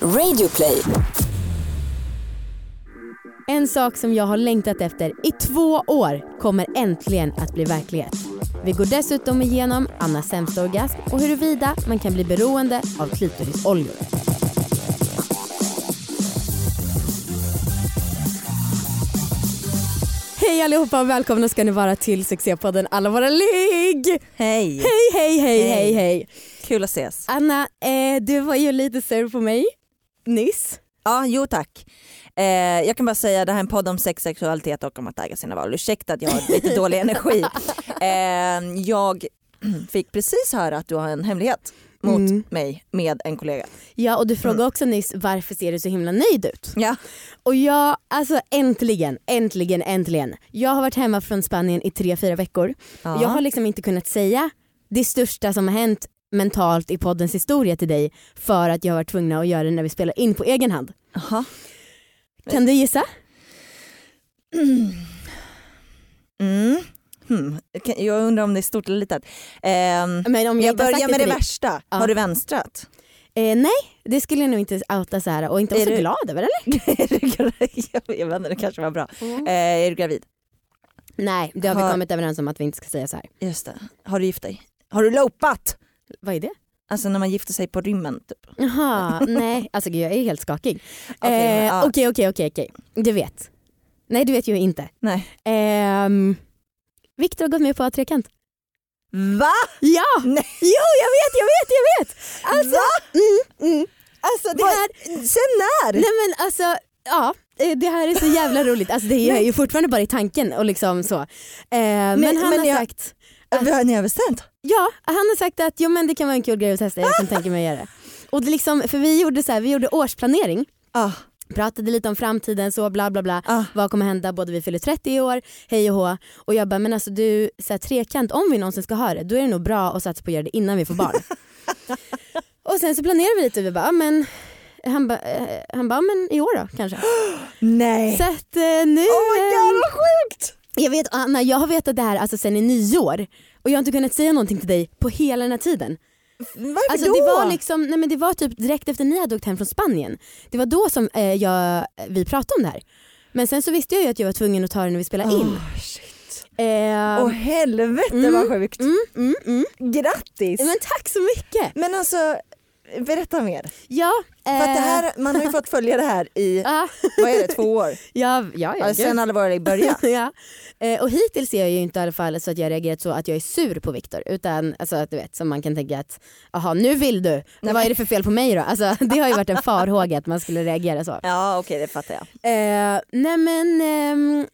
Radioplay. En sak som jag har längtat efter i två år kommer äntligen att bli verklighet. Vi går dessutom igenom Annas sämsta orgasm och huruvida man kan bli beroende av klitorisoljor. Hej allihopa och välkomna ska ni vara till succépodden Alla våra ligg! Hej! Hej hej hej hej Hej. hej! Kul att ses. Anna, eh, du var ju lite sur på mig nyss. Ja, jo tack. Eh, jag kan bara säga det här är en podd om sex, sexualitet och om att äga sina val. Ursäkta att jag har lite dålig energi. Eh, jag fick precis höra att du har en hemlighet mot Mm. mig med en kollega. Ja och du frågade också nyss varför ser du så himla nöjd ut? Ja. Och jag, alltså äntligen, äntligen, äntligen. Jag har varit hemma från Spanien i tre, fyra veckor. Ja. Jag har liksom inte kunnat säga det största som har hänt mentalt i poddens historia till dig för att jag har varit tvungna att göra det när vi spelar in på egen hand. Aha. Kan du gissa? Mm. Hmm. Kan- Jag undrar om det är stort eller litet. Eh, Men om Mm, jag, jag inte har sagt börjar med det till dig- värsta. Ja. Har du vänstrat? Eh, nej, det skulle jag nog inte outa så här och inte vara Är så du- glad över eller? Är du gravid? jag vet inte, det kanske var bra. Mm. Eh, är du gravid? Nej, det har vi Har- kommit överens om att vi inte ska säga så här. Just det. Har du gift dig? Har du lopat? Vad är det? Alltså när man gifter sig på rymmen typ. Jaha, nej, alltså gud, jag är helt skakig. Okej, men, Eh, ja. Okej, okej, okej, okej. Du vet. Nej, du vet ju inte. Nej. Ehm, Viktor har gått med på A-trekant. Va? Ja! Nej. Jo, jag vet, jag vet, jag vet! Alltså, mm, mm. alltså det Vad- här, Sen när? nej men alltså, ja. eh, Det här är så jävla roligt. Alltså det är ju fortfarande bara i tanken och liksom så. Eh, men, Men- han men har jag- sagt, Vi har ni överstämt? ja han har sagt att jo, men det kan vara en kul grej att testa, jag kan tänka mig att göra det. Och det liksom, för vi gjorde så här, vi gjorde årsplanering Ja. pratade lite om framtiden så bla bla bla. Ah. Vad kommer hända? Både vi fyller 30 i år, hej och hå. Och jag bara, men alltså du, så här, trekant, om vi någonsin ska ha det, då är det nog bra att satsa på att göra det innan vi får barn. och sen så planerar vi lite och vi bara, ja, men han bara, eh, han bara, ja, men i år då kanske. Nej. Så att eh, nu... Oh my eh, god vad sjukt! jag vet Anna, jag har vetat det här alltså, sen i nyår och jag har inte kunnat säga någonting till dig på hela den här tiden. Varför Alltså, då? det, var liksom, nej, men det var typ direkt efter ni hade åkt hem från Spanien. Det var då som eh, jag, vi pratade om det här. Men sen så visste jag ju att jag var tvungen att ta det när vi spelade in. Åh, Ah, shit. Eh, Åh helvete vad sjukt. mm, mm, mm. Grattis! Men, Men tack så mycket. alltså berätta mer. Ja, eh, För att det här, man har ju fått följa det här i, ja, vad är det, två år? ja, ja, ja, Ja, sen alla våra började. ja. Eh, och hittills är jag ju inte i alla fall så att jag reagerat så att jag är sur på Viktor utan alltså att du vet som man kan tänka att jaha nu vill du, men vad är det för fel på mig då? Alltså, det har ju varit en farhåga att man skulle reagera så. Ja okej det fattar jag. Eh, nej men, ehm,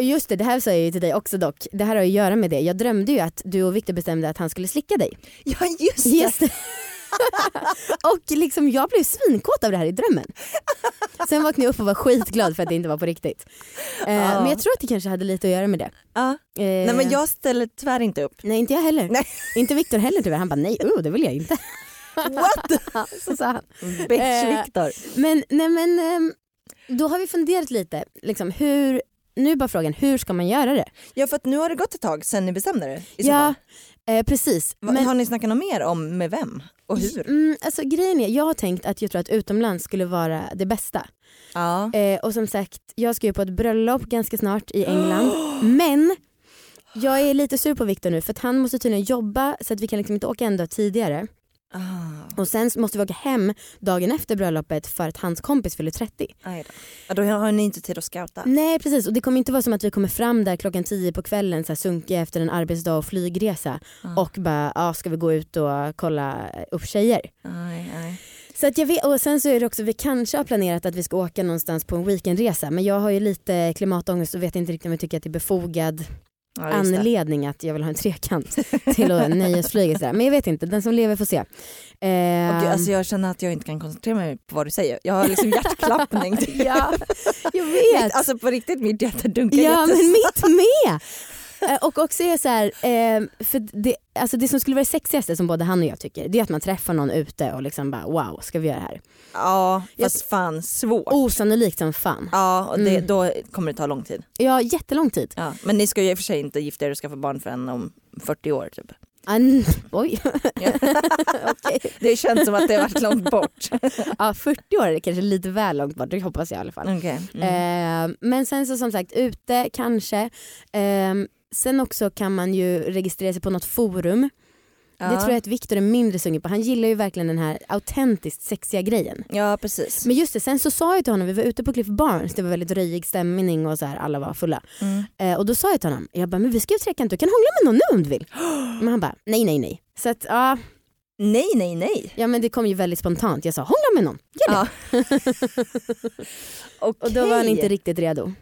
just det, det här sa jag ju till dig också dock. Det här har ju att göra med det. Jag drömde ju att du och Viktor bestämde att han skulle slicka dig. Ja just det. Just det. och liksom jag blev svinkåt av det här i drömmen. Sen vaknade jag upp och var skitglad för att det inte var på riktigt. Eh, Ja. Men jag tror att det kanske hade lite att göra med det. Ja. Eh, Nej men jag ställer tyvärr inte upp. nej inte jag heller. Nej. Inte Viktor heller tyvärr. Han bara nej, oh, det vill jag inte. What? Så sa han. Bitch Eh. Viktor. Men, nej, men ehm, då har vi funderat lite. Liksom, hur, nu är bara frågan, hur ska man göra det? Ja för att nu har det gått ett tag sen ni bestämde det. i så Ja, fall. eh, precis. Vad- Har ni snackat något mer om med vem och hur? Mm, alltså, grejen är, jag har tänkt att jag tror att utomlands skulle vara det bästa. Ja. Eh, och som sagt, jag ska ju på ett bröllop ganska snart i England. Men jag är lite sur på Victor nu för att han måste tydligen jobba så att vi kan liksom inte åka en dag tidigare. Ah. Och sen måste vi åka hem dagen efter bröllopet för att hans kompis fyller 30. Aj då. Ja, då har ni inte tid att scouta. Nej precis och det kommer inte vara som att vi kommer fram där klockan 10 på kvällen så här, sunkiga efter en arbetsdag och flygresa och bara ja, ska vi gå ut och kolla upp tjejer. Aj, aj. Så att jag vet, och sen så är det också, vi kanske har planerat att vi ska åka någonstans på en weekendresa men jag har ju lite klimatångest och vet inte riktigt om jag tycker att det är befogad Ja, just det. anledning att jag vill ha en trekant till att nöjesflyga sådär. Men jag vet inte, den som lever får se. Eh, Åh, gud, alltså jag känner att jag inte kan koncentrera mig på vad du säger. Jag har liksom hjärtklappning. ja, Ehm, jag Mitt, vet. alltså på riktigt, mitt hjärta dunkar Ja jättes- men mitt med. Eh, Och också är så här, eh, för det, alltså det som skulle vara det sexigaste som både han och jag tycker det är att man träffar någon ute och liksom bara wow ska vi göra det här? Ja, Jag- fast fan svårt. Osannolikt som fan. Ja, och det, Mm. då kommer det ta lång tid. Ja jättelång tid. Ja. Men ni ska ju i och för sig inte gifta er och skaffa barn förrän om 40 år typ. An- Oj, okej. Det känns som att det har varit långt bort. Ja, 40 år är kanske lite väl långt bort, det hoppas jag i alla fall. Okej. Mm. Eh, men sen så som sagt ute kanske. Eh, sen också kan man ju registrera sig på något forum. Det tror jag att Viktor är mindre sugen på. Han gillar ju verkligen den här autentiskt sexiga grejen. Ja precis. Men just det, sen så sa jag till honom, vi var ute på Cliff Barnes, det var väldigt röjig stämning och så här, alla var fulla. Mm. Eh, och då sa jag till honom, jag bara, men vi ska ju träcka du kan hångla med någon nu om du vill. Men han bara, nej nej nej. Så att ja, Nej, nej, nej. ja men det kom ju väldigt spontant. Jag sa, hångla med någon. Ja. Och då var han Okej. inte riktigt redo.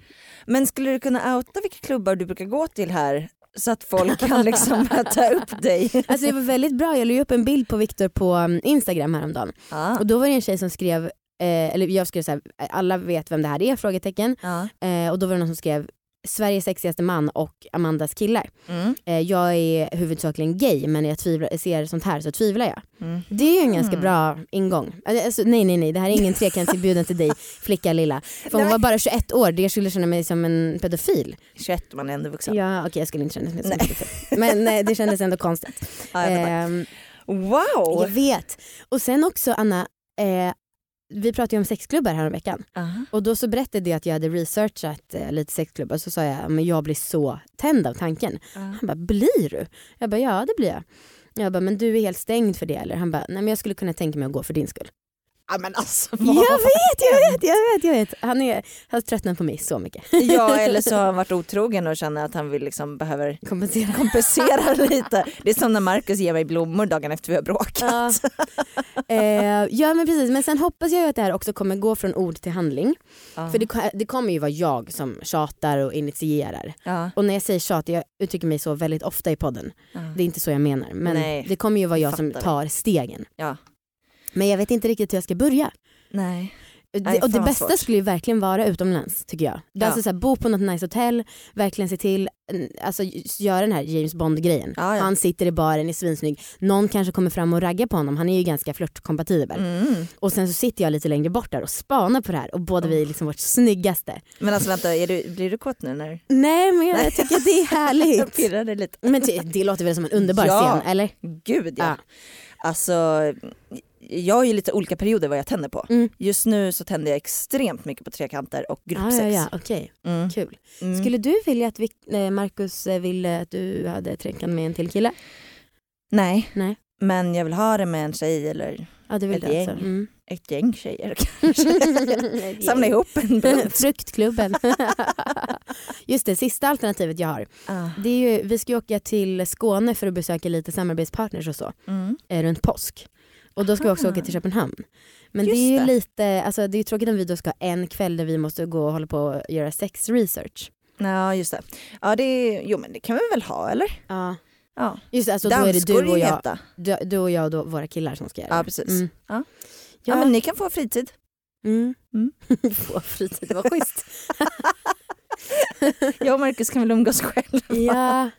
Men skulle du kunna outa vilka klubbar du brukar gå till här så att folk kan liksom ta upp dig? Alltså det var väldigt bra, jag la ju upp en bild på Viktor på um, Instagram häromdagen. Ja. Och då var det en tjej som skrev, eh, eller jag skrev så här, eh, alla vet vem det här är? Frågetecken. Ja. Eh, och då var det någon som skrev Sveriges sexigaste man och Amandas killar. Mm. Eh, jag är huvudsakligen gay men när jag tvivlar, ser sånt här så tvivlar jag. Mm. Det är ju en ganska Mm. bra ingång. Alltså, nej nej nej det här är ingen trekantsinbjudan till dig flicka lilla. För Nej, hon men- var bara 21 år, det skulle känna mig som en pedofil. 21 man är ändå vuxen. Ja okej jag skulle inte känna mig som en pedofil. Men nej, det kändes ändå konstigt. Ja, jag fattar. Ehm, wow! Jag vet. Och sen också Anna, eh, vi pratade ju om sexklubbar häromveckan Aha. och då så berättade jag att jag hade researchat eh, lite sexklubbar så sa jag men jag blir så tänd av tanken. Ja. Han bara blir du? Jag bara ja det blir jag. Jag bara men du är helt stängd för det eller? Han bara nej men jag skulle kunna tänka mig att gå för din skull. Ja, men alltså, Jag vad- vet, jag vet, jag vet, jag vet. Han, är, han tröttnar på mig så mycket. ja, eller så har han varit otrogen och känner att han vill liksom behöver Kompensera. kompensera lite. Det är som när Marcus ger mig blommor dagen efter vi har bråkat. Ja. Eh, ja men precis men sen hoppas jag ju att det här också kommer gå från ord till handling. Ja. För det, det kommer ju vara jag som tjatar och initierar. Ja. Och när jag säger tjat, jag uttrycker mig så väldigt ofta i podden. Ja. Det är inte så jag menar. Men Nej, det kommer ju vara jag som fattar. tar stegen. Ja. Men jag vet inte riktigt hur jag ska börja. Nej. Det, Nej, och fan det vad bästa svårt. skulle ju verkligen vara utomlands tycker jag. Ja. Alltså så här, bo på något nice hotell, verkligen se till, mm, alltså just göra den här James Bond grejen. Ja, ja. Han sitter i baren, är svinsnygg, någon kanske kommer fram och raggar på honom, han är ju ganska flörtkompatibel. Mm. Och sen så sitter jag lite längre bort där och spanar på det här och båda vi är liksom vårt snyggaste. Men alltså vänta, är du, blir du kåt nu när Nej men jag tycker att det är jag härligt. pirrar dig lite? Men det, det låter väl som en underbar Ja. scen eller? Gud ja. Ja. Alltså, jag har ju lite olika perioder vad jag tänder på. Mm. Just nu så tänder jag extremt mycket på trekanter och gruppsex. Ja, Ah, ja, ja. Okej, Mm. kul. Mm. Skulle du vilja att vi, eh, Marcus eh, ville att du hade träckan med en till kille? Nej. Nej. men jag vill ha det med en tjej eller Ja, du vill Ett det alltså. gäng. Mm. ett gäng tjejer. Samla ihop en bunt. Fruktklubben. Just det, sista alternativet jag har. Ah. Det är ju, vi ska ju åka till Skåne för att besöka lite samarbetspartners och så Mm. eh, runt påsk. Och då ska vi också Aha. åka till Köpenhamn. Men Just det är ju det. lite, alltså det är ju tråkigt om vi då ska ha en kväll där vi måste gå och hålla på och göra sex research. Ja just det. Ja det, jo men det kan vi väl ha eller? Ja. Ja. Just det, alltså då är det Dansgård du och jag, heta. du, du och jag och då, våra killar som ska göra Ja det. precis. Mm. Ja. Ja, Ja men ni kan få fritid. Mm. Mm. Få fritid, vad schysst. Jag och Marcus kan väl umgås själva. ja.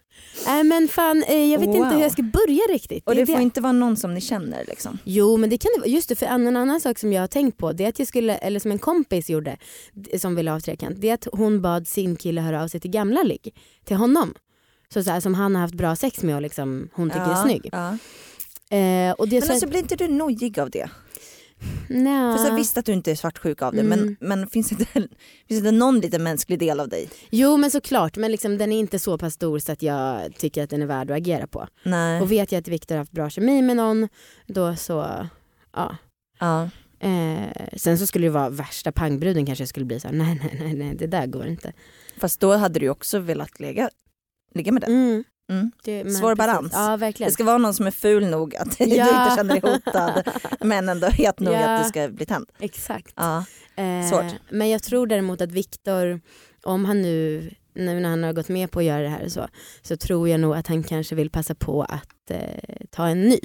Nej men fan, eh, jag vet inte hur Wow. jag ska börja riktigt. Och Det är det får det. inte vara någon som ni känner liksom. Jo men det kan det vara. Just det, för en en annan sak som jag har tänkt på, det är att jag skulle, eller som en kompis gjorde, d- som ville ha trekant, det är att hon bad sin kille höra av sig till gamla ligg, till honom. Så, så här, som han har haft bra sex med och liksom, hon tycker ja, är snygg. Ja. Eh, och det Men så alltså blir inte du nojig av det? nja. För så här, visst att du inte är svartsjuk av det Mm. men, men finns, inte, finns inte någon liten mänsklig del av dig? Jo men såklart, men liksom, den är inte så pass stor så att jag tycker att den är värd att agera på. Nej. Och vet jag att Viktor har haft bra kemi med någon, då så, ja. ja. Eh, sen så skulle det vara värsta pangbruden kanske jag skulle bli så här, nej nej nej nej det där går inte. Fast då hade du ju också velat ligga, ligga med den. Mm. Mm. Det, men Svår balans. Ja Det verkligen. ska vara någon som är ful nog att du Ja. inte känner dig hotad men ändå het nog Ja. att du ska bli tänd. Exakt. Ja. Eh, Svårt. Men jag tror däremot att Viktor, om han nu, nu när han har gått med på att göra det här och så, så tror jag nog att han kanske vill passa på att eh, ta en ny.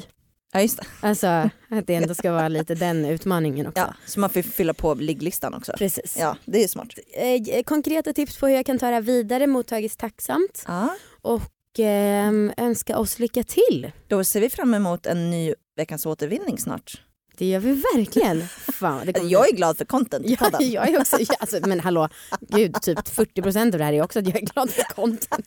ja just det. Alltså att det ändå ska vara lite den utmaningen också. Ja. Så man får fylla på ligglistan också. Precis. Ja det är ju smart. Eh, konkreta tips på hur jag kan ta det här vidare mottagits tacksamt Ja. och eh, önska oss lycka till. Då ser vi fram emot en ny Veckans återvinning snart. Det gör vi verkligen. fan, det kommer Jag är glad för content i bli- ja, podden. jag är också, ja, alltså, men hallå, gud typ 40% av det här är också att jag är glad för content.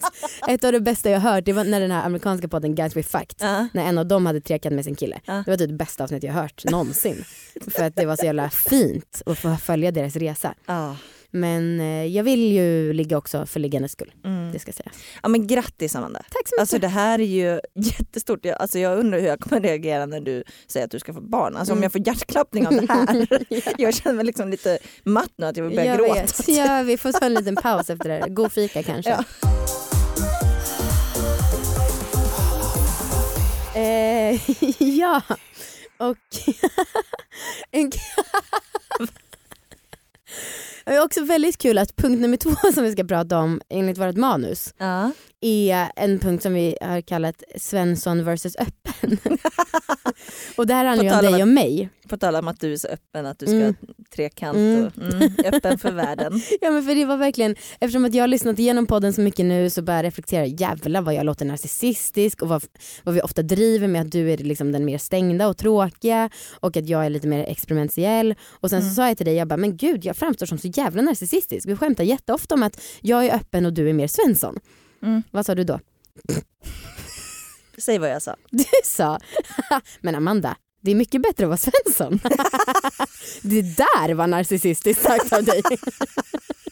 Ett av det bästa jag hört det var när den här amerikanska podden Guys We Fucked, Ja. när en av dem hade trekant med sin kille. Ja. Det var typ det bästa avsnitt jag hört någonsin. för att det var så jävla fint att få följa deras resa. Ja. Men eh, jag vill ju ligga också för liggandets skull, Mm. det ska sägas. ja men grattis Amanda. Tack så mycket. Alltså det här är ju jättestort. Jag, alltså, jag undrar hur jag kommer reagera när du säger att du ska få barn. Alltså om Mm. jag får hjärtklappning av det här. Jag känner mig liksom lite matt nu att jag vill börja jag gråta. Vet. Ja, vi får ta en liten paus efter det här. God fika kanske. Ja. Eh, ja, och en... Det är också väldigt kul att punkt nummer två som vi ska prata om enligt vårt manus Ja. är en punkt som vi har kallat Svensson versus öppen. och det här handlar ju om tal om dig och mig. På tal om att du är så öppen, att du ska Mm. trekant Mm. och mm, öppen för världen. Ja men för det var verkligen, eftersom att jag har lyssnat igenom podden så mycket nu så börjar jag reflektera, jävlar vad jag låter narcissistisk och vad, vad vi ofta driver med att du är liksom den mer stängda och tråkiga och att jag är lite mer experimentiell. Och sen så Mm. sa jag till dig, jag bara men gud jag framstår som så jävla narcissistisk. Vi skämtar jätteofta om att jag är öppen och du är mer Svensson. Mm. Vad sa du då? Säg vad jag sa. Du sa, men Amanda det är mycket bättre att vara Svensson. det där var narcissistiskt sagt av dig.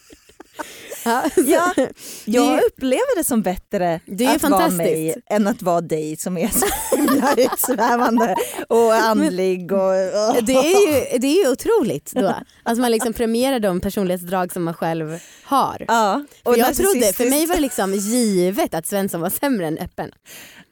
ja, så- Ja, Det är jag ju- upplever det som bättre Det är ju att vara fantastiskt. mig än att vara dig som är så himla utsvävande och andlig. Och, och. Det är ju, det är ju otroligt då. Att man liksom premierar de personlighetsdrag som man själv har. Ja, och För jag trodde, för narcissistiskt. mig var det liksom givet att Svensson var sämre än öppen.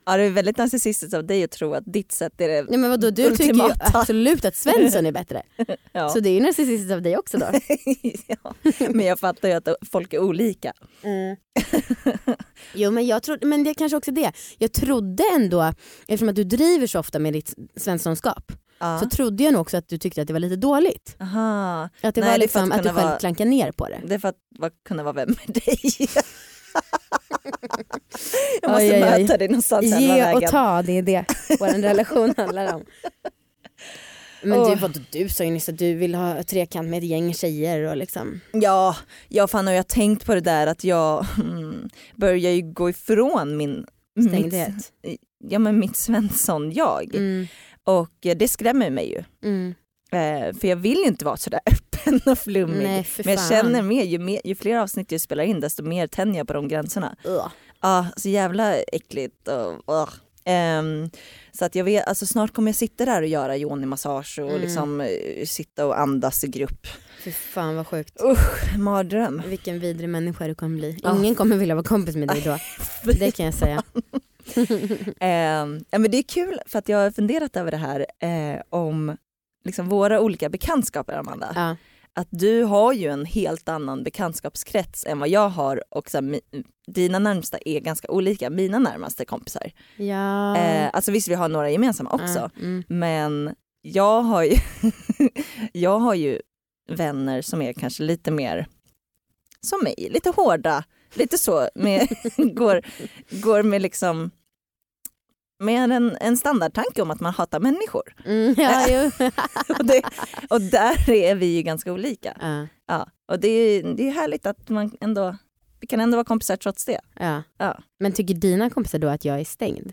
Ja, det är väldigt narcissistiskt av dig att tro att ditt sätt är det. Nej men vadå, du tycker ju Ultimata. absolut att Svensson är bättre. Ja. Så det är ju narcissistiskt av dig också då. ja. Men jag fattar ju att folk är olika. Mm. Jo men jag trodde, men det är kanske också det. Jag trodde ändå, eftersom att du driver så ofta med ditt svenssonskap, Ja. så trodde jag nog också att du tyckte att det var lite dåligt. Aha. Att det Nej, det är var för liksom att att du kunna själv vara- klankar ner på det. Det är för att va- kunna vara vän med dig. jag måste Oj, oj, oj. möta dig någonstans här Ge hela och vägen. ta, det är det vår relation handlar om. Men Åh. du, vad, du sa ju nyss att du vill ha trekant med ett gäng tjejer och liksom. Ja, ja fan har jag tänkt på det där att jag mm, börjar ju gå ifrån min Mitt, stängdhet. ja, men mitt Svensson-jag. Mm. Och eh, det skrämmer mig ju. Mm. Eh, för jag vill ju inte vara sådär öppen och flummig. Nej för Mm. Men jag fan. känner mer ju, mer, ju fler avsnitt jag spelar in desto mer tänjer jag på de gränserna. Ugh. Ja, så jävla äckligt och ugh. Ehm, Så att jag vet, alltså snart kommer jag sitta där och göra yoni-massage och Mm. liksom eh, sitta och andas i grupp. Fy fan vad sjukt. Mardröm. Vilken vidrig människa du kommer bli. Ja. Ingen kommer vilja vara kompis med dig då. Det kan jag säga. Ehm, ja, men det är kul för att jag har funderat över det här eh, om liksom våra olika bekantskaper Amanda. Ja. Att du har ju en helt annan bekantskapskrets än vad jag har och så här, mi- dina närmsta är ganska olika mina närmaste kompisar. ja. Eh, alltså visst vi har några gemensamma också Ja, Mm. men jag har ju, jag har ju vänner som är kanske lite mer som mig, lite hårda, lite så, med, går, går med liksom med en, en standardtanke om att man hatar människor. Mm, ja, jo. Och, det, och där är vi ju ganska olika. ja. Ja, och det är, det är härligt att man ändå, vi kan ändå vara kompisar trots det. Ja. Ja. Men tycker dina kompisar då att jag är stängd?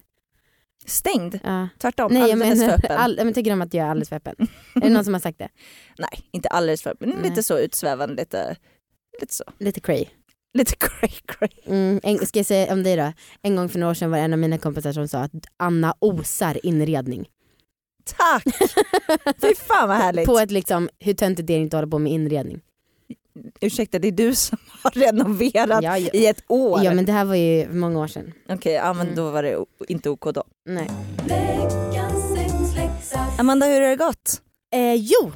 Stängd, Ja. tvärtom, Nej jag alldeles för menar, öppen. all, men tycker de att jag är alldeles för öppen? är det någon som har sagt det? Nej, inte alldeles för öppen, men Nej. lite så utsvävande, lite, lite så. Lite cray. Lite cray cray. Mm, en, ska jag säga om dig då? En gång för några år sedan var det en av mina kompisar som sa att Anna osar inredning. Tack! Fy fan vad härligt. På ett liksom, hur töntigt det är att inte hålla på med inredning. Ursäkta det är du som har renoverat Ja, ja. i ett år. ja men det här var ju många år sedan. Okej, ja, men Mm. då var det o- inte OK då. Nej. Amanda hur har det gått? Eh, jo,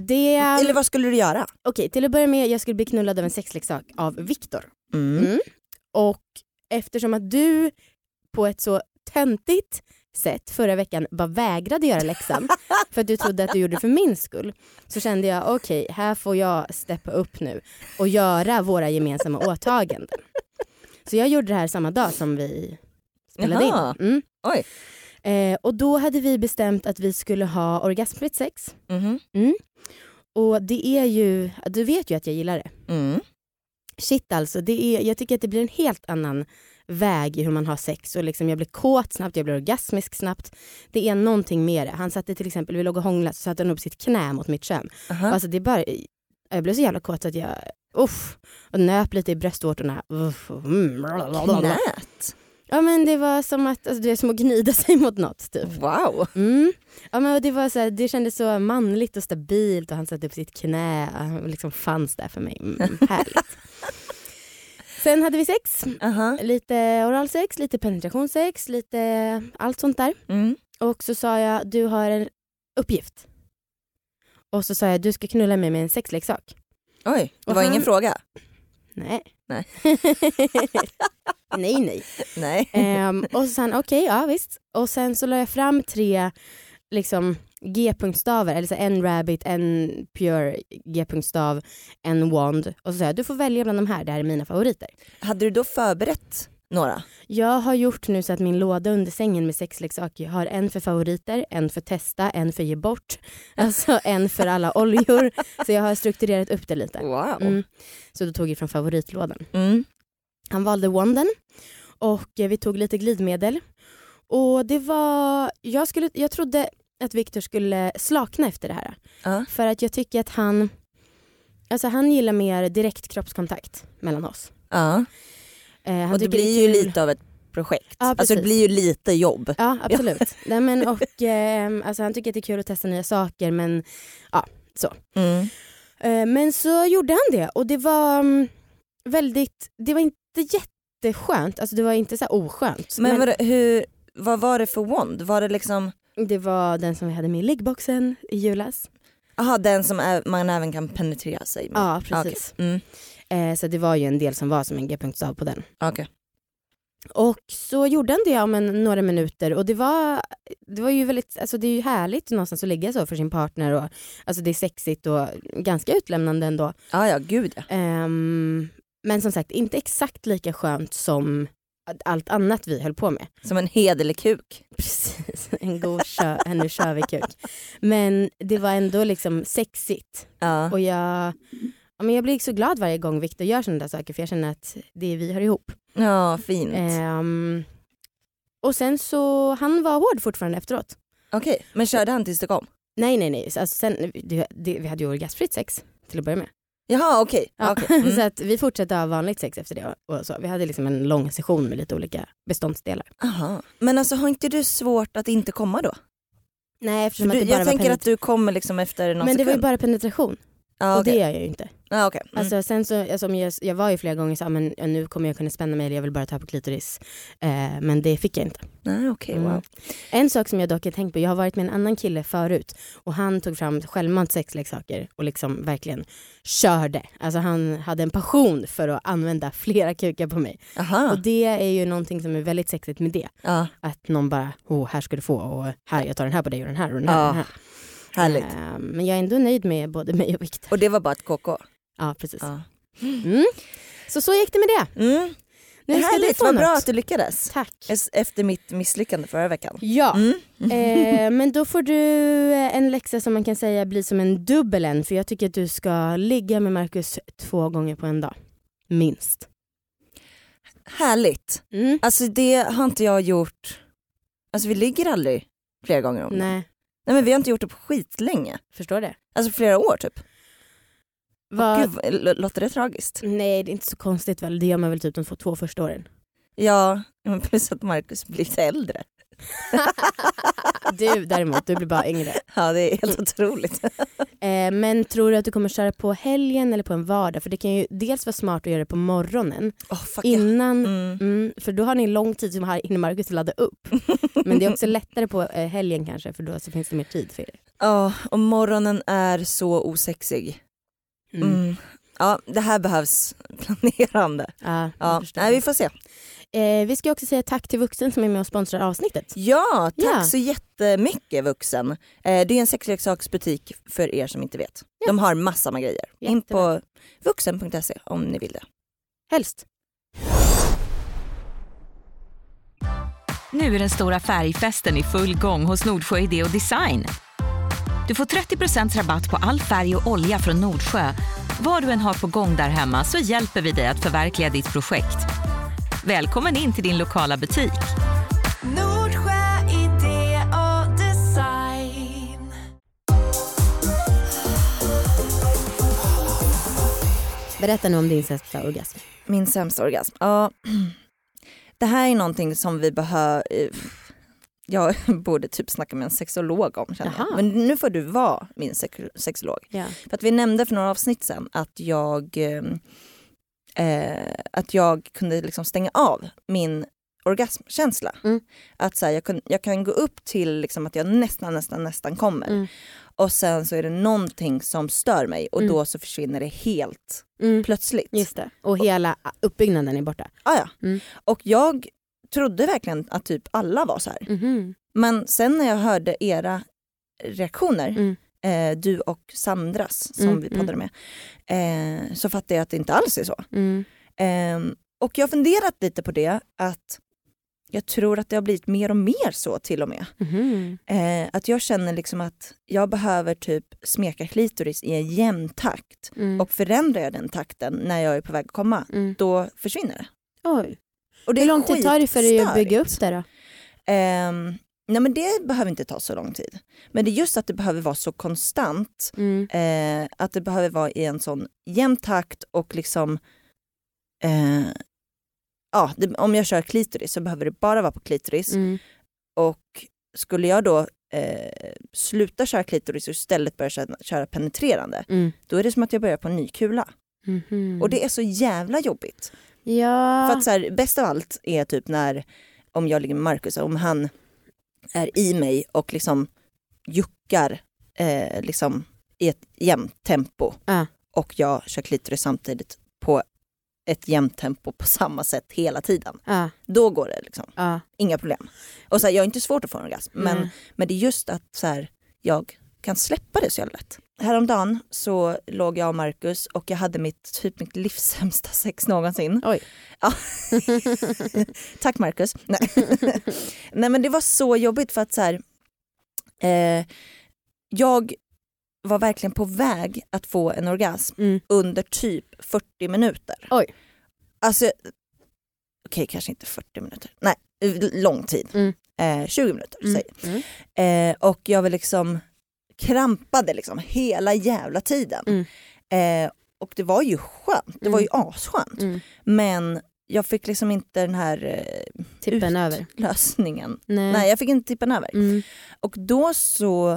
det... Eller Okej, vad skulle du göra? till att börja med jag skulle bli knullad av en sexleksak av Viktor. Mm. Mm. Och eftersom att du på ett så töntigt sätt förra veckan bara vägrade göra läxan för att du trodde att du gjorde det för min skull så kände jag okej, här får jag steppa upp nu och göra våra gemensamma åtaganden. Så jag gjorde det här samma dag som vi spelade Jaha. in. Mm. Oj. Eh, och då hade vi bestämt att vi skulle ha orgasmfritt sex Mhm. Och det är ju, du vet ju att jag gillar det. Mm. Shit alltså, det är, jag tycker att det blir en helt annan väg i hur man har sex. Och liksom, jag blir kåt snabbt, jag blir orgasmisk snabbt. Det är någonting med det. Han satte till exempel, vi låg och hånglade, så satte han upp sitt knä mot mitt kön. Aha. Alltså det är bara, jag blev så jävla kåt så att jag uff, och nöp lite i bröstvårtorna. Uff, mm, blablabla. Knät? ja men det var som att, alltså, det är som att gnida sig mot något typ. Wow. Mm. Ja, men det, var så här, det kändes så manligt och stabilt och han satte upp sitt knä och han liksom fanns där för mig. Mm, härligt. Sen hade vi sex. Aha. Lite oralsex, lite penetrationssex, lite allt sånt där. Mm. Och så sa jag, du har en uppgift. Och så sa jag, du ska knulla mig med en sexleksak. Oj, det Och var han- ingen fråga. Nej. Nej. nej, nej. Nej. Ehm, och så sa han, okej, ja visst. Och sen så la jag fram tre liksom, g-punktstavar, eller så en rabbit, en pure g-punktstav, en wand. Och så sa jag, du får välja bland de här, det här är mina favoriter. Hade du då förberett några? Jag har gjort nu så att min låda under sängen med sexleksaker jag har en för favoriter, en för testa, en för ge bort, alltså en för alla oljor. Så jag har strukturerat upp det lite. Wow. Mm. Så då tog jag från favoritlådan. Mm. Han valde wanden och eh, vi tog lite glidmedel. Och det var, jag, skulle, jag trodde att Viktor skulle slakna efter det här. Ja. För att jag tycker att han, alltså han gillar mer direkt kroppskontakt mellan oss. Ja. Eh, han Och det tycker blir är ju kul- lite av ett projekt. Ja, alltså det precis. blir ju lite jobb. Ja absolut. Nej, men, och, ehm, alltså, han tycker att det är kul att testa nya saker men Mm. Eh, Men så gjorde han det och det var mm, väldigt, det var inte jätteskönt, alltså det var inte så här oskönt. Men, vadå, hur, vad var det för wand? Var det liksom, det var den som vi hade med i liggboxen i julas. aha den som är, man även kan penetrera sig med? Ja precis. Okej. Mm. Eh, Så det var ju en del som var som en g-punktstav på den. Okej. Och så gjorde han det om en, några minuter och det var, det var ju väldigt, alltså det är ju härligt någonstans att ligga så för sin partner och alltså det är sexigt och ganska utlämnande ändå. Ja, ja gud ja. Ehm, men som sagt, inte exakt lika skönt som allt annat vi höll på med. Som en hederlig kuk. Precis, en god kö, en nu kör vi kuk. Men det var ändå liksom sexigt. Ja. Och jag, ja, men jag blir så glad varje gång Victor gör sådana där saker för jag känner att det vi hör ihop. ja, fint. Ehm, och sen så, han var hård fortfarande efteråt. Okej, men körde han tills du kom? Nej nej nej, alltså sen, det, det, vi hade ju orgasmfritt sex till att börja med. Jaha okej. Ja, Okej. Mm. så att vi fortsatte ha vanligt sex efter det. Och så. Vi hade liksom en lång session med lite olika beståndsdelar. Aha. Men alltså har inte du svårt att inte komma då? Nej För eftersom du, att det bara jag var tänker penetration. att du kommer liksom efter någon Men det var ju sekund. bara penetration Ja, och det okej. gör jag ju inte. Ja, okej. Mm. Alltså, sen så, alltså, om jag, jag var ju flera gånger så, ah, men ja, nu kommer jag kunna spänna mig eller jag vill bara ta på klitoris. Eh, men det fick jag inte. Nej, okej, Mm. wow. En sak som jag dock har tänkt på, jag har varit med en annan kille förut och han tog fram självmant sexleksaker och liksom verkligen körde. Alltså han hade en passion för att använda flera kukar på mig. Aha. Och det är ju någonting som är väldigt sexigt med det. Ja, att någon bara, oh, här ska du få och här, jag tar den här på dig och den här och den här. Ja, och den här. härligt. Eh, men jag är ändå nöjd med både mig och Viktor. Och det var bara ett KK? Ja, precis. Ja. Mm. Så så gick det med det. Mm. Nu ska du härligt, få vad något. bra att du lyckades. Tack. Es- Efter mitt misslyckande förra veckan. Ja, Mm. eh, men då får du eh, en läxa som man kan säga blir som en dubbel en för jag tycker att du ska ligga med Marcus två gånger på en dag. Minst. Härligt. Mm. Alltså det har inte jag gjort, alltså vi ligger aldrig flera gånger om dagen. Nej, Nej men vi har inte gjort det på skitlänge. förstår det. Alltså flera år typ. Vad- Gud, vad- lå- låter det tragiskt? Nej, det är inte så konstigt väl. Det gör man väl typ de två första åren. Ja, men plus att Marcus blir lite äldre. Du däremot, du blir bara yngre. Ja det är helt otroligt. Eh, men tror du att du kommer köra på helgen eller på en vardag? För det kan ju dels vara smart att göra det på morgonen Oh, fuck ja. innan, mm. mm, för då har ni lång tid som har innan Marcus vill ladda upp. Men det är också lättare på eh, helgen kanske för då så finns det mer tid för er. Ja, och morgonen är så osexig. Mm. Mm. Ja, det här behövs planerande. Ja, jag Ja. förstår. Nej, vi får se. eh, vi ska också säga tack till Vuxen som är med och sponsrar avsnittet. Ja, tack Ja. så jättemycket Vuxen. Eh, det är en sexleksaksbutik för er som inte vet. Ja. De har massor med grejer. In Jättebra. på vuxen.se om ni vill det. Helst. Nu är den stora färgfesten i full gång hos Nordsjö Idé och Design. Du får 30% rabatt på all färg och olja från Nordsjö. Vad du än har på gång där hemma så hjälper vi dig att förverkliga ditt projekt. Välkommen in till din lokala butik. Nordsjö idé och design. Berätta nu om din sämsta orgasm. Min sämsta orgasm. Ja. Det här är någonting som vi behöver... Jag borde typ snacka med en sexolog om känner Jaha. jag. Men nu får du vara min sex- sexolog. Ja. För att vi nämnde för några avsnitt sen att jag, eh, eh, att jag kunde liksom stänga av min orgasmkänsla. Mm. Att så här, jag, kun, jag kan gå upp till liksom att jag nästan, nästan, nästan kommer. Mm. Och sen så är det någonting som stör mig och Mm. då så försvinner det helt Mm. plötsligt. Just det. Och hela uppbyggnaden är borta. Ah, ja. Mm. Och jag trodde verkligen att typ alla var så här. Mhm. Men sen när jag hörde era reaktioner, Mm. eh, du och Sandras som Mm, vi poddade med, eh, så fattade jag att det inte alls är så. Mm. Ehm, och jag har funderat lite på det att jag tror att det har blivit mer och mer så till och med. Mhm. Eh, att jag känner liksom att jag behöver typ smeka klitoris i en jämn takt. Mm. Och förändrar jag den takten när jag är på väg att komma, Mm. då försvinner det. Oj. Och det Hur är lång tid tar det för dig att skitstörigt. bygga upp det då? Ehm, nej men det behöver inte ta så lång tid. Men det är just att det behöver vara så konstant. Mm. Eh, att det behöver vara i en sån jämn takt och liksom... Eh, ja, det, om jag kör klitoris så behöver det bara vara på klitoris. Mm. Och skulle jag då eh, sluta köra klitoris och istället börja köra, köra penetrerande, Mm. då är det som att jag börjar på en ny kula. Mhm. Och det är så jävla jobbigt. Ja. För att så här, bäst av allt är typ när, om jag ligger med Markus, om han är i mig och liksom juckar eh, liksom i ett jämnt tempo Ja. och jag kör klitoris samtidigt på ett jämnt tempo på samma sätt hela tiden. ja. Då går det liksom, Ja. Mm, inga problem. Och så här, jag är inte svårt att få en orgasm, men Nej. men det är just att så här, jag kan släppa det så jävla lätt. Häromdagen så låg jag och Marcus och jag hade mitt, typ mitt livs sämsta sex någonsin. Oj. Ja. Tack Marcus. Nej. Nej men det var så jobbigt för att så här, eh, jag var verkligen på väg att få en orgasm Mm. under typ 40 minuter. Oj. Alltså, okej kanske inte 40 minuter, nej lång tid. Mm. Eh, 20 minuter Mm. säger Mm. Eh, och jag var liksom krampade liksom hela jävla tiden. Mm. Eh, och det var ju skönt, det var ju asskönt. Mm. Men jag fick liksom inte den här eh, Tippen över. utlösningen. Nej. Nej jag fick inte tippen över. Mm. Och då så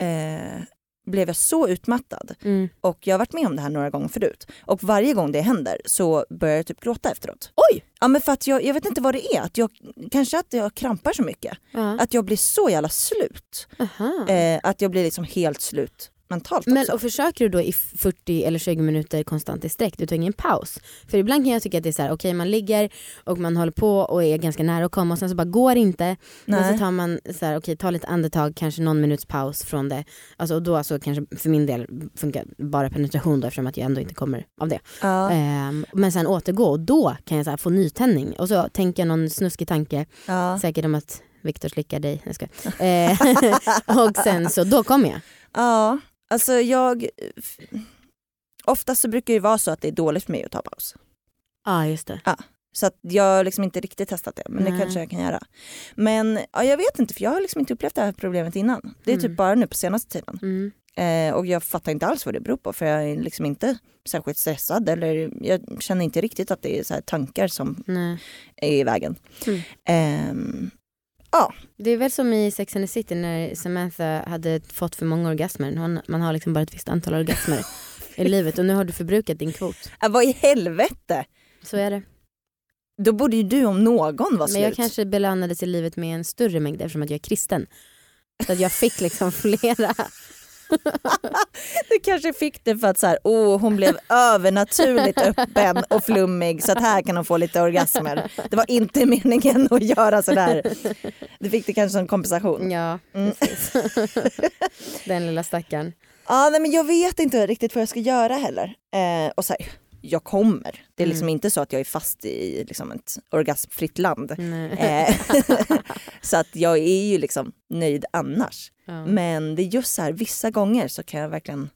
eh, blev jag så utmattad Mm. och jag har varit med om det här några gånger förut. Och varje gång det händer så börjar jag typ gråta efteråt. Oj! Ja men för att jag, jag vet inte vad det är, att jag, kanske att jag krampar så mycket. Ja. Att jag blir så jävla slut. Aha. Eh, att jag blir liksom helt slut mentalt Men också. och försöker du då i 40 eller 20 minuter konstant i sträck, du tar ingen paus? För ibland kan jag tycka att det är så här, okej man ligger och man håller på och är ganska nära att komma och sen så bara går det inte. Men Nej. så tar man så här, okej ta lite andetag, kanske någon minuts paus från det. Alltså, och då så kanske för min del funkar bara penetration då eftersom att jag ändå inte kommer av det. ja, Ehm, men sen återgå och då kan jag så här, få nytändning och så tänker jag någon snuskig tanke, ja, säkert om att Viktor slickar dig, jag skojar. Eh, och sen så, då kommer jag. ja, alltså jag... Oftast så brukar det ju vara så att det är dåligt för mig att ta paus. Ja just det. Så att jag har liksom inte riktigt testat det, men Nej. det kanske jag kan göra. Men ja, jag vet inte, för jag har liksom inte upplevt det här problemet innan. Det är Mm. typ bara nu på senaste tiden. Mm. Eh, och jag fattar inte alls vad det beror på, för jag är liksom inte särskilt stressad eller jag känner inte riktigt att det är så här tankar som Nej. är i vägen. Mm. Ehm, Det är väl som i Sex and the City när Samantha hade fått för många orgasmer. Hon, man har liksom bara ett visst antal orgasmer i livet och nu har du förbrukat din kvot. äh, vad i helvete! Så är det. Då borde ju du om någon vara Men slut. jag kanske belönades i livet med en större mängd eftersom att jag är kristen. Så att jag fick liksom flera. Du kanske fick det för att så här, oh, hon blev övernaturligt öppen och flummig så att här kan hon få lite orgasmer. Det var inte meningen att göra sådär. Du fick det kanske som kompensation. Ja, Mm. precis. Den lilla stackaren. Ja, nej, men jag vet inte riktigt vad jag ska göra heller. Eh, och så här, jag kommer. Det är liksom Mm. inte så att jag är fast i liksom ett orgasmfritt land. Nej. Eh, så att jag är ju liksom nöjd annars. Ja. Men det är just så här, vissa gånger så kan jag verkligen,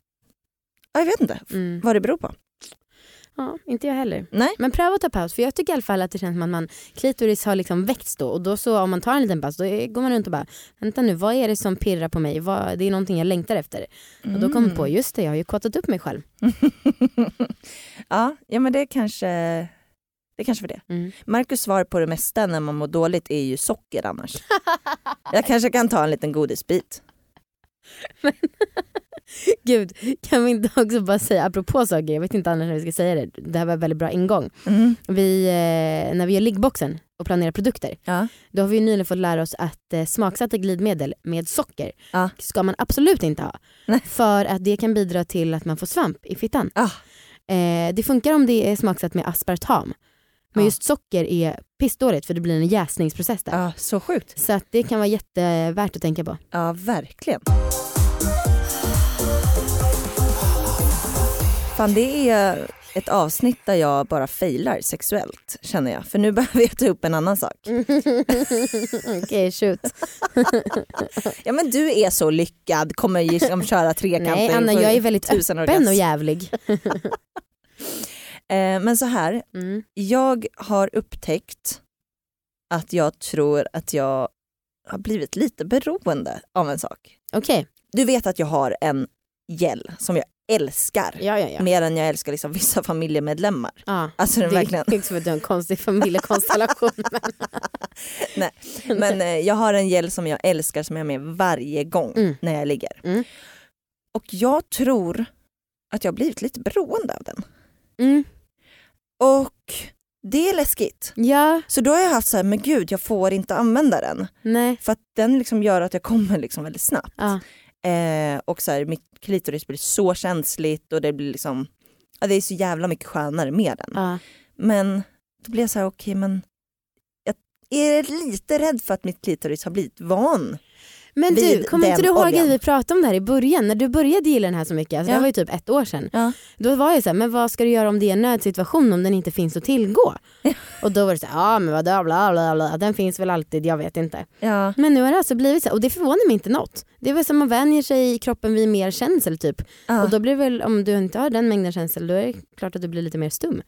ja, jag vet inte Mm. vad det beror på. ja, inte jag heller. Nej. Men pröva att ta paus för jag tycker i alla fall att det känns som att man, klitoris har liksom växt då och då så om man tar en liten paus då är, går man runt och bara vänta nu vad är det som pirrar på mig? Vad, det är någonting jag längtar efter. Och då kommer man Mm. på just det jag har ju kåtat upp mig själv. ja, ja, men det kanske, det kanske var det. Mm. Marcus svar på det mesta när man mår dåligt är ju socker annars. jag kanske kan ta en liten godisbit. Gud kan vi inte också bara säga apropå saker, jag vet inte annars hur vi ska säga det, det här var en väldigt bra ingång. Mm. Vi, eh, när vi gör liggboxen och planerar produkter Ja. då har vi ju nyligen fått lära oss att eh, smaksatta glidmedel med socker Ja. ska man absolut inte ha. Nej. För att det kan bidra till att man får svamp i fittan. Ah. Eh, det funkar om det är smaksatt med aspartam. Men Ja. just socker är pissdåligt för det blir en jäsningsprocess där. ja, så sjukt. Så att det kan vara jättevärt att tänka på. Ja, verkligen. Fan, det är ett avsnitt där jag bara failar sexuellt känner jag. För nu behöver jag ta upp en annan sak. Mm. Okej, shoot. Ja men du är så lyckad, kommer ju liksom köra trekanter. Nej Anna, jag är väldigt tusen öppen och jävlig. eh, Men så här, Mm. jag har upptäckt att jag tror att jag har blivit lite beroende av en sak. Okej, Du vet att jag har en gel som jag älskar. ja ja ja. Mer än jag älskar liksom vissa familjemedlemmar. ja. Alltså den Det verkligen. är liksom att du har en konstig familjekonstellation. Men eh, jag har en gel som jag älskar som jag har med varje gång Mm. när jag ligger. Mm. Och jag tror att jag har blivit lite beroende av den. Mm. Och det är läskigt. Ja, Så då har jag haft så här, men gud jag får inte använda den. nej. För att den liksom gör att jag kommer liksom väldigt snabbt. Ja. Eh, och så här, mitt klitoris blir så känsligt och det blir liksom, ja, det är så jävla mycket skönare med den. Ja. Men då blir jag så här, okej men jag är lite rädd för att mitt klitoris har blivit van. Men du, vid kommer den inte du ihåg att oljan. vi pratade om det här i början? När du började gilla den här så mycket, alltså det Ja. här var ju typ ett år sedan. Ja. Då var jag så här, men vad ska du göra om det är en nödsituation om den inte finns att tillgå? och då var det så här, ja men vadå bla bla bla, den finns väl alltid, jag vet inte. Ja. Men nu har det alltså blivit så här, och det förvånar mig inte något. Det är väl som man vänjer sig i kroppen vid mer känsel typ. Ja. Och då blir det väl, om du inte har den mängden känsel då är det klart att du blir lite mer stum.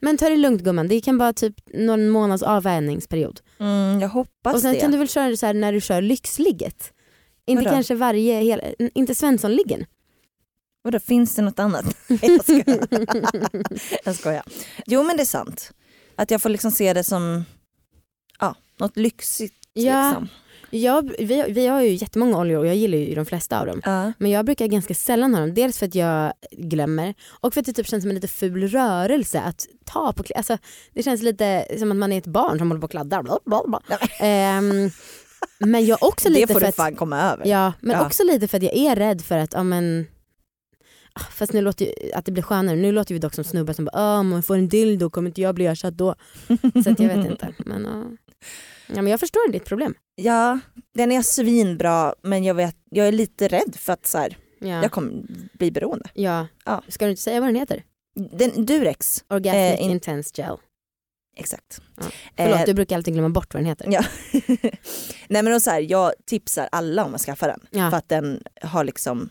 Men ta det lugnt gumman, det kan vara typ någon månads avvänjningsperiod. Mm, jag hoppas Och sen det. kan du väl köra det så här när du kör lyxligget. Inte Vadå? kanske varje, hela, inte Svenssonliggen. Vadå, finns det något annat? Nej, jag skojar. jag skojar. Jo men det är sant. Att jag får liksom se det som ja, något lyxigt. Ja, Liksom. jag, vi, vi har ju jättemånga oljor och jag gillar ju de flesta av dem. Ja. Men jag brukar ganska sällan ha dem, dels för att jag glömmer och för att det typ känns som en lite ful rörelse att ta på kli- alltså, Det känns lite som att man är ett barn som håller på och kladdar. Bla, bla, bla. Ehm, men jag också lite Det får för du att, fan komma över. Ja, men Ja. också lite för att jag är rädd för att, ja men ah, Fast nu låter ju, att det blir skönare, nu låter vi dock som snubbar som bara "Ah, om man får en dildo kommer inte jag bli ersatt då. Så att jag vet inte. Men, ja. ja, men jag förstår ditt problem. Ja, den är svinbra men jag, vet, jag är lite rädd för att så här, Ja. jag kommer bli beroende. Ja. Ja. Ska du inte säga vad den heter? Den, Durex, Orgasmic Eh, in- Intense Gel. exakt. Ja. Förlåt, Eh, Mm, du brukar alltid glömma bort vad den heter. Ja. Nej men och så här, jag tipsar alla om att skaffa den Ja. för att den har liksom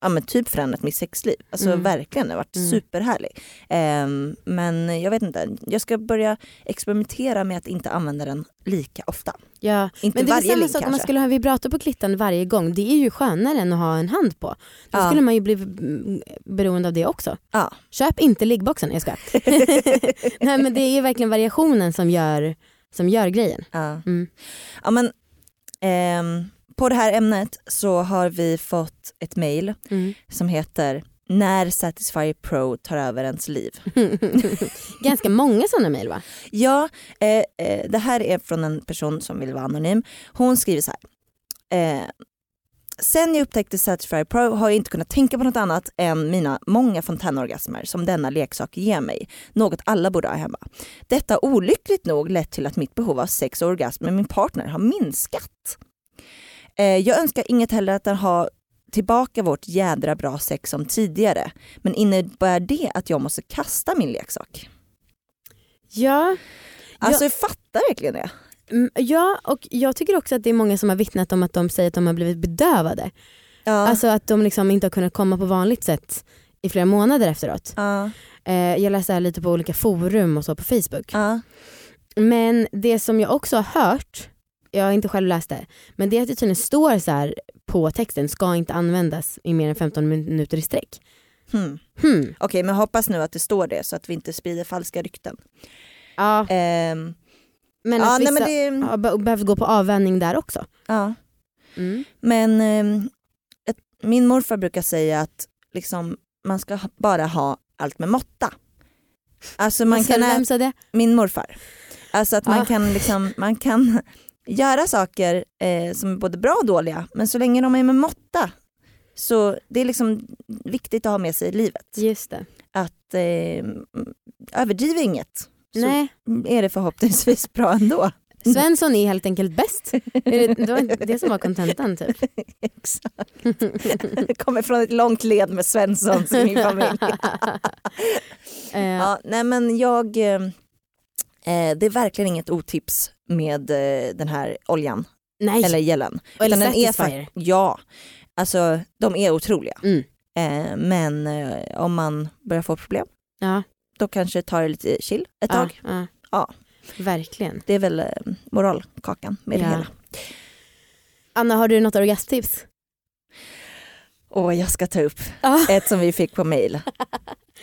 Ja men typ förändrat mitt sexliv. Alltså Mm. verkligen, den har varit Mm. superhärlig. Ehm, men jag vet inte, jag ska börja experimentera med att inte använda den lika ofta. Ja. Inte Men det är varje samma ligg sak kanske. om man skulle ha en vibrator på klittan varje gång. Det är ju skönare än att ha en hand på. Då Ja. skulle man ju bli mm, beroende av det också. Ja. Köp inte liggboxen, jag skojar. Nej men det är ju verkligen variationen som gör, som gör grejen. Ja. Mm. Ja, men, ehm, på det här ämnet så har vi fått ett mail Mm. som heter När Satisfyer Pro tar över ens liv. Ganska många sådana mejl va? Ja, eh, eh, det här är från en person som vill vara anonym. Hon skriver så här. Eh, Sen jag upptäckte Satisfyer Pro har jag inte kunnat tänka på något annat än mina många fontänorgasmer som denna leksak ger mig. Något alla borde ha hemma. Detta har olyckligt nog lett till att mitt behov av sex och orgasm med min partner har minskat. Eh, Jag önskar inget heller än att ha tillbaka vårt jädra bra sex som tidigare. Men innebär det att jag måste kasta min leksak? Ja, Alltså jag fattar verkligen det. mm, ja, och jag tycker också att det är många som har vittnat om att de säger att de har blivit bedövade. Ja. Alltså att de liksom inte har kunnat komma på vanligt sätt i flera månader efteråt. ja, Eh, jag läser här lite på olika forum och så på Facebook. ja. Men det som jag också har hört, jag har inte själv läst det, men det är att det tydligen står så här på texten, ska inte användas i mer än 15 minuter i sträck. Hmm. Hmm. Okej men hoppas nu att det står det så att vi inte sprider falska rykten. Ja, Ehm, men ja, nej, att vissa men det, har be- behövt gå på avvänjning där också. ja. Mm. Men ehm, ett, min morfar brukar säga att liksom, man ska ha- bara ha allt med måtta. Alltså man Alltså, kan ä- vem sa det? min morfar. Alltså att man Ah. kan liksom, man kan göra saker eh, som är både bra och dåliga men så länge de är med måtta så det är liksom viktigt att ha med sig i livet. Just det. Att eh, överdriv inget så Nej, är det förhoppningsvis bra ändå. Svensson är helt enkelt bäst. Är det, det var det som var kontentan typ. Exakt. Det kommer från ett långt led med Svenssons i min familj. Eh, Ja, nej men jag, eh, eh, det är verkligen inget otips med eh, den här oljan nej, eller gelen. eller Utan den är Satisfyer. fa- Ja, alltså de är otroliga. Mm. Eh, men eh, om man börjar få problem Ja, då kanske tar det lite chill ett ja, tag. ja. Ja. Verkligen. Det är väl eh, moralkakan med Ja. det hela. Anna, har du något orgasmtips? Åh, jag ska ta upp Ja. ett som vi fick på mail.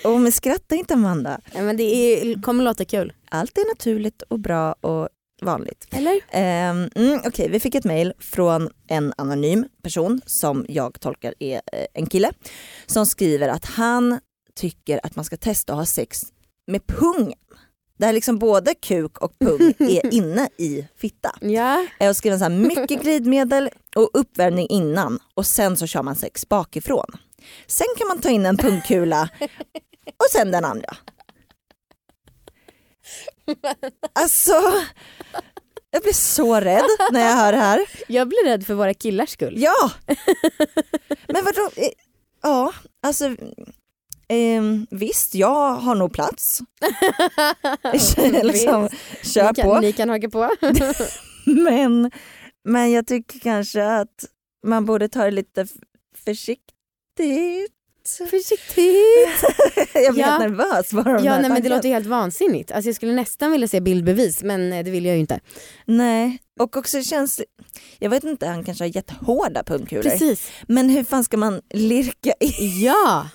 Åh, men skratta inte Amanda. Nej, men det är, kommer låta kul. Allt är naturligt och bra och vanligt. Eller? Ehm, mm, Okej, vi fick ett mejl från en anonym person som jag tolkar är eh, en kille som skriver att han tycker att man ska testa att ha sex med pungen. Där liksom både kuk och pung är inne i fitta. Ja. Eh, Jag skriver så här, mycket glidmedel och uppvärmning innan och sen så kör man sex bakifrån. Sen kan man ta in en pungkula och sen den andra. Alltså, jag blir så rädd när jag hör det här. Jag blir rädd för våra killars skull. Ja! Men vadå? Eh, Ja, alltså ehm, visst, jag har nog plats. liksom, kör ni, på. kan, ni kan haka på. Men, men jag tycker kanske att man borde ta det lite f- försiktigt. Försiktigt. Jag blir Ja. helt nervös bara av den Ja här nej, men det tanken. låter ju helt vansinnigt. Alltså, jag skulle nästan vilja se bildbevis men eh, det vill jag ju inte. Nej, och också känns Jag vet inte, han kanske har jättehårda pungkulor. Precis. Men hur fan ska man lirka i? Ja.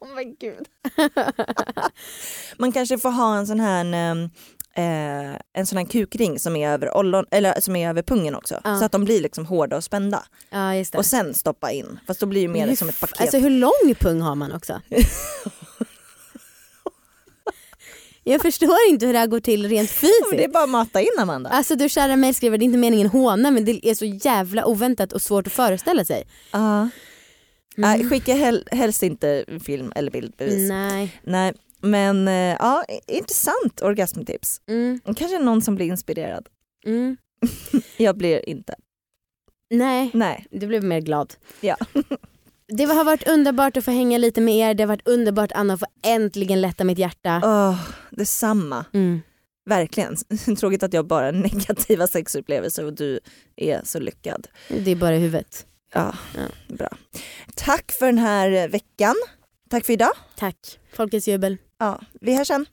Oh my God. man kanske får ha en sån här ehm, eh, en sån här kukring som är över, ollon, eller, som är över pungen också. Ja. Så att de blir liksom hårda och spända. Ja just det. Och sen stoppa in. Fast då blir det mer Hur som ett f- paket. Alltså hur lång pung har man också? jag förstår inte hur det här går till rent det är fysiskt. bara att mata in Amanda. Alltså du kära mig skriver, det är inte meningen håna men det är så jävla oväntat och svårt att föreställa sig. Ja. Nej, skicka hel- helst inte film eller bildbevis. Nej. Nej. Men eh, ja, i- intressant orgasmtips. Mm, Kanske någon som blir inspirerad. mm. Jag blir inte. Nej. Nej. Du blev mer glad. Ja. Det har varit underbart att få hänga lite med er. Det har varit underbart Anna att få äntligen lätta mitt hjärta. Oh, detsamma. Mm. Verkligen. Tråkigt att jag bara har negativa sexupplevelser och du är så lyckad. Det är bara i huvudet. Ja, Ja. bra. Tack för den här eh, veckan. Tack för idag. Tack. Folkets jubel. Ja, vi hörs sen.